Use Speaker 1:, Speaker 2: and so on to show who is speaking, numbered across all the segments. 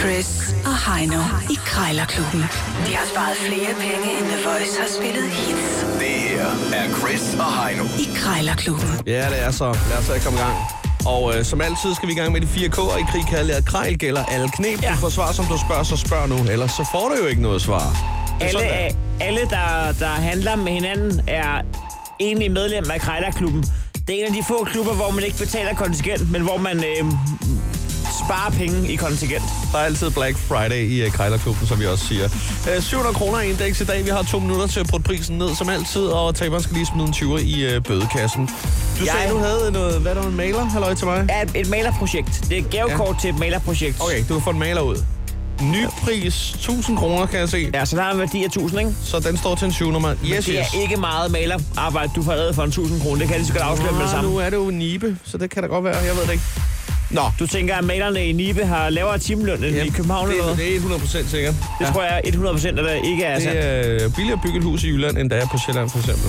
Speaker 1: Chris og Heino i Krejlerklubben. De har sparet flere penge, end The Voice har spillet hits
Speaker 2: Det her er Chris og Heino.
Speaker 1: i Krejlerklubben.
Speaker 3: Ja, det er så. Lad os så komme i gang. Og øh, som altid skal vi i gang med de fire K'er i krig, kaldet at krejl gælder alle knep. Ja. Du får svar, som du spørger, så spørg nu. Ellers så får du jo ikke noget svar. Det er
Speaker 4: Alle,
Speaker 3: sådan, det er.
Speaker 4: alle der, der handler med hinanden, er egentlig medlem af Krejlerklubben. Det er en af de få klubber, hvor man ikke betaler kontingent, men hvor man øh, sparer penge i kontingent.
Speaker 3: Der er altid Black Friday i øh, Krejlerklubben, som vi også siger. Øh, 700 kroner i indeks i dag. Vi har to minutter til at putte prisen ned, som altid. Og taberen skal lige smide en 20 i øh, bødekassen. Du jeg...
Speaker 4: Jeg-
Speaker 3: sagde, du havde noget... Hvad er der en maler? Halløj til mig.
Speaker 4: Er et malerprojekt. Det er et gavekort ja. til et malerprojekt.
Speaker 3: Okay, du kan få en maler ud. Ny pris, 1000 kroner, kan jeg se. Ja.
Speaker 4: Ja, så der er en værdi af 1000, ikke?
Speaker 3: Så den står til en 7 nummer. Yes,
Speaker 4: Det
Speaker 3: yes.
Speaker 4: er ikke meget malerarbejde, du får lavet for en 1000 kroner. Det kan jeg lige så godt afsløre med det
Speaker 3: Ah,
Speaker 4: samme.
Speaker 3: nu er det jo nibe, så det kan da godt være. Jeg ved det ikke. Nå,
Speaker 4: Du tænker, at malerne i Nibe har lavere timeløn end i København
Speaker 3: det,
Speaker 4: eller noget? Det,
Speaker 3: det er 100% sikkert.
Speaker 4: det tror jeg 100% at det ikke er altså. sandt.
Speaker 3: Det er øh, billigere at bygge et hus i Jylland, end der er på Sjælland for eksempel.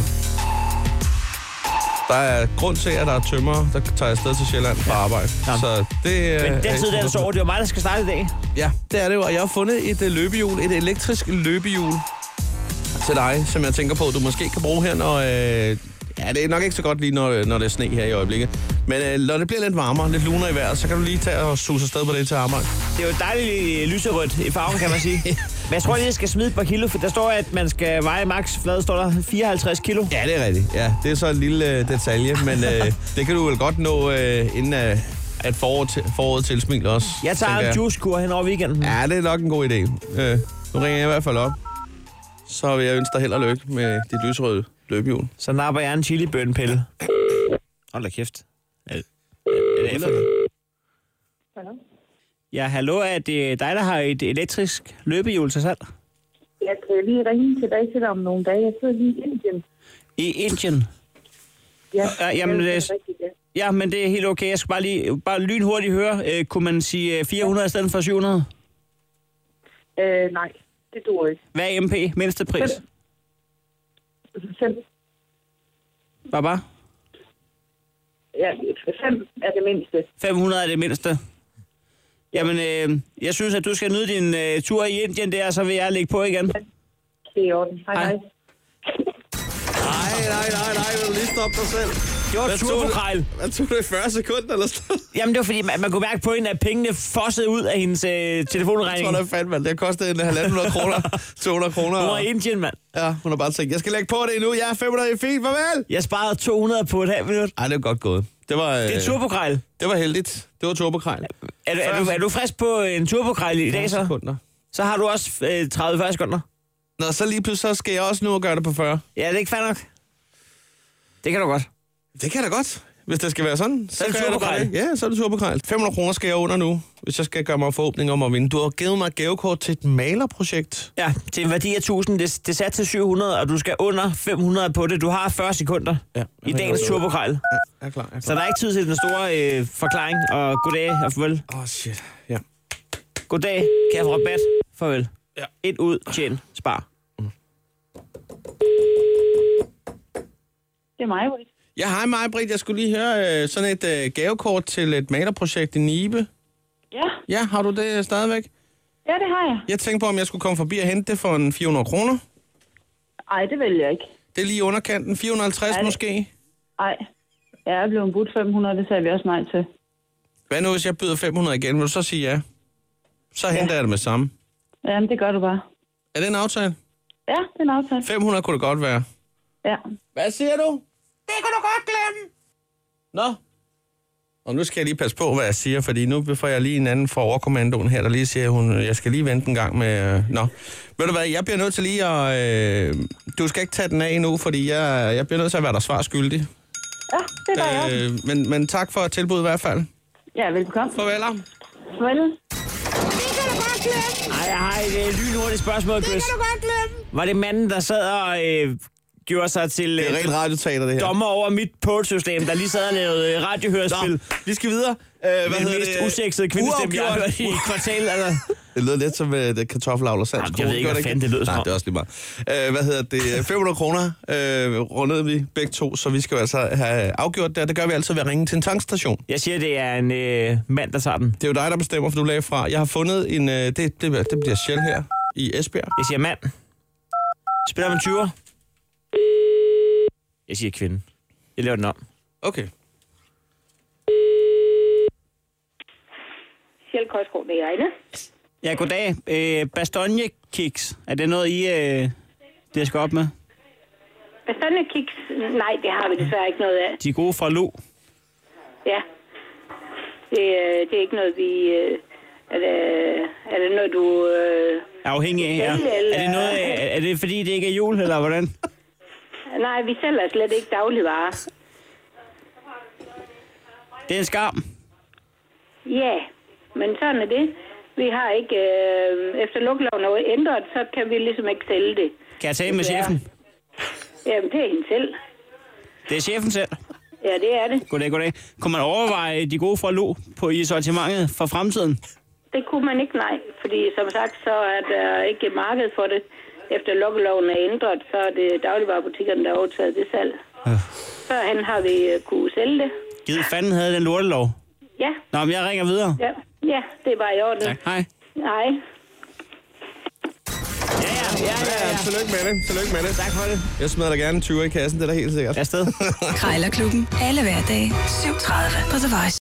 Speaker 3: Der er grund til, at der er tømmer, der tager afsted til Sjælland for arbejde.
Speaker 4: Nå.
Speaker 3: Så det
Speaker 4: Men den tid, der er
Speaker 3: 100%.
Speaker 4: sover, det er jo mig, der skal starte i dag.
Speaker 3: Ja, det er det jo. Og jeg har fundet et øh, løbehjul, et elektrisk løbehjul til dig, som jeg tænker på, du måske kan bruge her, når... Øh, ja, det er nok ikke så godt lige, når, øh, når det er sne her i øjeblikket. Men øh, når det bliver lidt varmere, lidt lunere i vejret, så kan du lige tage og suse afsted på det til arbejde.
Speaker 4: Det er jo dejligt øh, lyserødt i farven, kan man sige. Men jeg tror lige, jeg skal smide et par kilo, for der står, at man skal veje max flad, står der 54 kilo.
Speaker 3: Ja, det er rigtigt. Ja, det er så en lille øh, detalje, men øh, det kan du vel godt nå, øh, inden øh, at foråret, til- foråret tilsmiler også.
Speaker 4: Jeg tager
Speaker 3: tænker
Speaker 4: en juicekur hen over weekenden. Ja.
Speaker 3: Ja, det er nok en god idé. Øh, nu ringer jeg i hvert fald op. Så vil jeg ønske dig held og lykke med dit lysrøde løbehjul.
Speaker 4: Så napper jeg en chilibønpille. Hold da kæft. Øh, øh, øh,
Speaker 5: Hallo?
Speaker 4: Ja, hallo, er det dig, der har et elektrisk løbehjul til salg?
Speaker 5: Jeg kan lige ringe til dig til dig om nogle dage. Jeg sidder lige i Indien.
Speaker 4: I Indien?
Speaker 5: Ja,
Speaker 4: Ja, jamen, øh, det-
Speaker 5: det er rigtigt, ja.
Speaker 4: Ja, men det er helt okay. Jeg skal bare lige bare lynhurtigt høre. Øh, kunne man sige øh, 400 i stedet for 700?
Speaker 5: Øh, nej, det dur ikke.
Speaker 4: Hvad er MP? Mindste pris?
Speaker 5: Fem,
Speaker 4: Bare bare?
Speaker 5: ja, fem er det mindste.
Speaker 4: 500 er det mindste. Jamen, øh, jeg synes, at du skal nyde din øh, tur i Indien der, så vil jeg lægge på igen.
Speaker 5: Det er i orden. Hej,
Speaker 4: Hej.
Speaker 5: hej.
Speaker 3: Nej, nej, nej, nej, vil du lige stoppe dig selv?
Speaker 4: Det var turbokrejl.
Speaker 3: Hvad tog det i 40 sekunder, eller sådan
Speaker 4: Jamen, det var fordi, man, man kunne mærke på hende, at pengene fossede ud af hendes øh,
Speaker 3: Jeg
Speaker 4: telefonregning.
Speaker 3: tror da fandme, at det har kostet en 1.500 kroner, 200 kroner.
Speaker 4: Hun var i Indien, mand.
Speaker 3: Ja, hun har bare tænkt, jeg skal lægge på det endnu, jeg er 500 i fint, farvel!
Speaker 4: Jeg sparede 200 på et halvt minut.
Speaker 3: Ej, det var godt gået. Det var,
Speaker 4: Det er
Speaker 3: øh,
Speaker 4: turbokrejl.
Speaker 3: det var heldigt. Det var turbokrejl.
Speaker 4: Er, du- er, du, er du frisk på en turbokrejl i dag, så?
Speaker 3: sekunder.
Speaker 4: Så har du også øh, 30-40 sekunder.
Speaker 3: Nå, så lige pludselig så skal jeg også nu og gøre det på 40.
Speaker 4: Ja, det er ikke fair nok. Det kan du godt.
Speaker 3: Det kan da godt. Hvis det skal være sådan, så,
Speaker 4: er det
Speaker 3: gør jeg bare
Speaker 4: turbokrejl.
Speaker 3: det. Ja, så er det turbokrejl. 500 kroner skal jeg under nu, hvis jeg skal gøre mig forhåbninger om at vinde. Du har givet mig et gavekort til et malerprojekt.
Speaker 4: Ja, til en værdi af 1000. Det, det er sat til 700, og du skal under 500 på det. Du har 40 sekunder
Speaker 3: Ja,
Speaker 4: ja,
Speaker 3: jeg
Speaker 4: i
Speaker 3: har
Speaker 4: dagens
Speaker 3: ikke-
Speaker 4: turbokrejl.
Speaker 3: Ja, jeg er klar. Jeg er
Speaker 4: Så der er ikke tid til den store øh, forklaring, og goddag og farvel.
Speaker 3: Åh, oh, shit. Ja.
Speaker 4: Goddag, kan jeg få rabat? Farvel.
Speaker 3: Ja.
Speaker 4: Ind ud, tjen, spar.
Speaker 5: Det er mig, Britt.
Speaker 3: Ja, hej mig, Britt. Jeg skulle lige høre øh, sådan et øh, gavekort til et malerprojekt i Nibe.
Speaker 5: Ja,
Speaker 3: Ja, har du det øh, stadigvæk?
Speaker 5: ja, det har jeg.
Speaker 3: Jeg tænkte på, om jeg skulle komme forbi og hente det for en 400 kroner.
Speaker 5: Ej, det vil jeg ikke.
Speaker 3: Det er lige i underkanten. 450
Speaker 5: det-
Speaker 3: måske.
Speaker 5: Ej, jeg er blevet budt 500, det sagde vi også nej til.
Speaker 3: Hvad nu, hvis jeg byder 500 igen? Vil du så sige ja? Så henter ja. jeg det med samme.
Speaker 5: Jamen, det gør du bare.
Speaker 3: Er det en aftale?
Speaker 5: Ja, det er en aftale.
Speaker 3: 500 kunne det godt være.
Speaker 5: Ja.
Speaker 3: Hvad siger du? Det kunne du godt glemme. Nå. Og nu skal jeg lige passe på, hvad jeg siger, fordi nu får jeg lige en anden fra overkommandoen her, der lige siger, hun, jeg skal lige vente en gang med... øh, Nå, ved du hvad, jeg bliver nødt til lige at... Øh, du skal ikke tage den af endnu, fordi jeg, jeg bliver nødt til at være dig svar skyldig.
Speaker 5: Ja, det gør jeg. Øh...
Speaker 3: Øh, men, men tak for tilbuddet i hvert fald.
Speaker 5: Ja, velkommen.
Speaker 3: Farvel.
Speaker 5: Farvel.
Speaker 4: Ej, jeg har et øh, lynhurtigt spørgsmål, Chris.
Speaker 6: kan du godt glemme.
Speaker 4: Var det manden, der sad og øh, gjorde sig til
Speaker 3: Det er
Speaker 4: øh,
Speaker 3: rent radioteater, det her.
Speaker 4: dommer over mit portsystem, der lige sad og lavede øh, radiohørespil?
Speaker 3: Nå, vi skal videre. Øh,
Speaker 4: Hvad den mest usexede kvindestemme, jeg har hørt i kvartalet. Altså.
Speaker 3: Det lyder lidt som øh, det kartoffelavler sands.
Speaker 7: Jamen, jeg ved ikke, hvad fanden det lyder som
Speaker 3: Nej,
Speaker 7: om.
Speaker 3: det er også lige meget. Øh, hvad hedder det? 500 kroner øh, rundede vi begge to, så vi skal jo altså have afgjort det. og Det gør vi altid ved at ringe til en tankstation.
Speaker 7: Jeg siger, det er en øh, mand, der tager den.
Speaker 3: Det er jo dig, der bestemmer, for du lagde fra. Jeg har fundet en... Øh, det, det, det bliver Shell her i Esbjerg.
Speaker 7: Jeg siger mand. Spiller man 20'er? Jeg siger kvinde. Jeg laver den om.
Speaker 3: Okay.
Speaker 5: Sjæl Korsgaard, det er Ejne.
Speaker 4: Ja, goddag. Øh, Bastogne-kiks. Er det noget, I øh, det skal op med?
Speaker 5: Bestandende kiks, nej, det har vi desværre ikke noget af.
Speaker 4: De er gode fra Lo.
Speaker 5: Ja. Det, øh, det er ikke noget, vi... Øh, er, det, øh, er det noget, du... Øh,
Speaker 4: Afhængig af ja. Er det, noget, er, er det fordi, det ikke er jul, eller hvordan?
Speaker 5: nej, vi sælger slet ikke dagligvarer.
Speaker 4: Det er en skam.
Speaker 5: Ja, men sådan er det. Vi har ikke... Øh, efter lukkeloven er ændret, så kan vi ligesom ikke sælge det.
Speaker 4: Kan jeg tale med
Speaker 5: Desværre.
Speaker 4: chefen?
Speaker 5: Jamen, det er hende selv.
Speaker 4: Det er chefen selv.
Speaker 5: Ja, det er det.
Speaker 4: Goddag, goddag. Kunne man overveje de gode fra Lo på i sortimentet for fremtiden?
Speaker 5: Det kunne man ikke, nej. Fordi som sagt, så er der ikke et marked for det. Efter lukkeloven er ændret, så er det dagligvarerbutikkerne, der har overtaget det salg. Ja. Førhen har vi øh, kunne sælge det.
Speaker 4: Gid fanden havde den lortelov.
Speaker 5: Ja,
Speaker 4: Nå, men jeg ringer videre.
Speaker 5: ja, ja, det er bare i orden.
Speaker 4: Tak. Hej.
Speaker 5: Nej.
Speaker 4: Ja, ja, ja, ja. ja.
Speaker 3: Tillykke med det. Tillykke med det. Tak for det. Jeg smider dig gerne 20 i kassen, det er da helt sikkert.
Speaker 4: Afsted.
Speaker 1: Krejlerklubben. Alle hverdage. 7.30 på The Voice.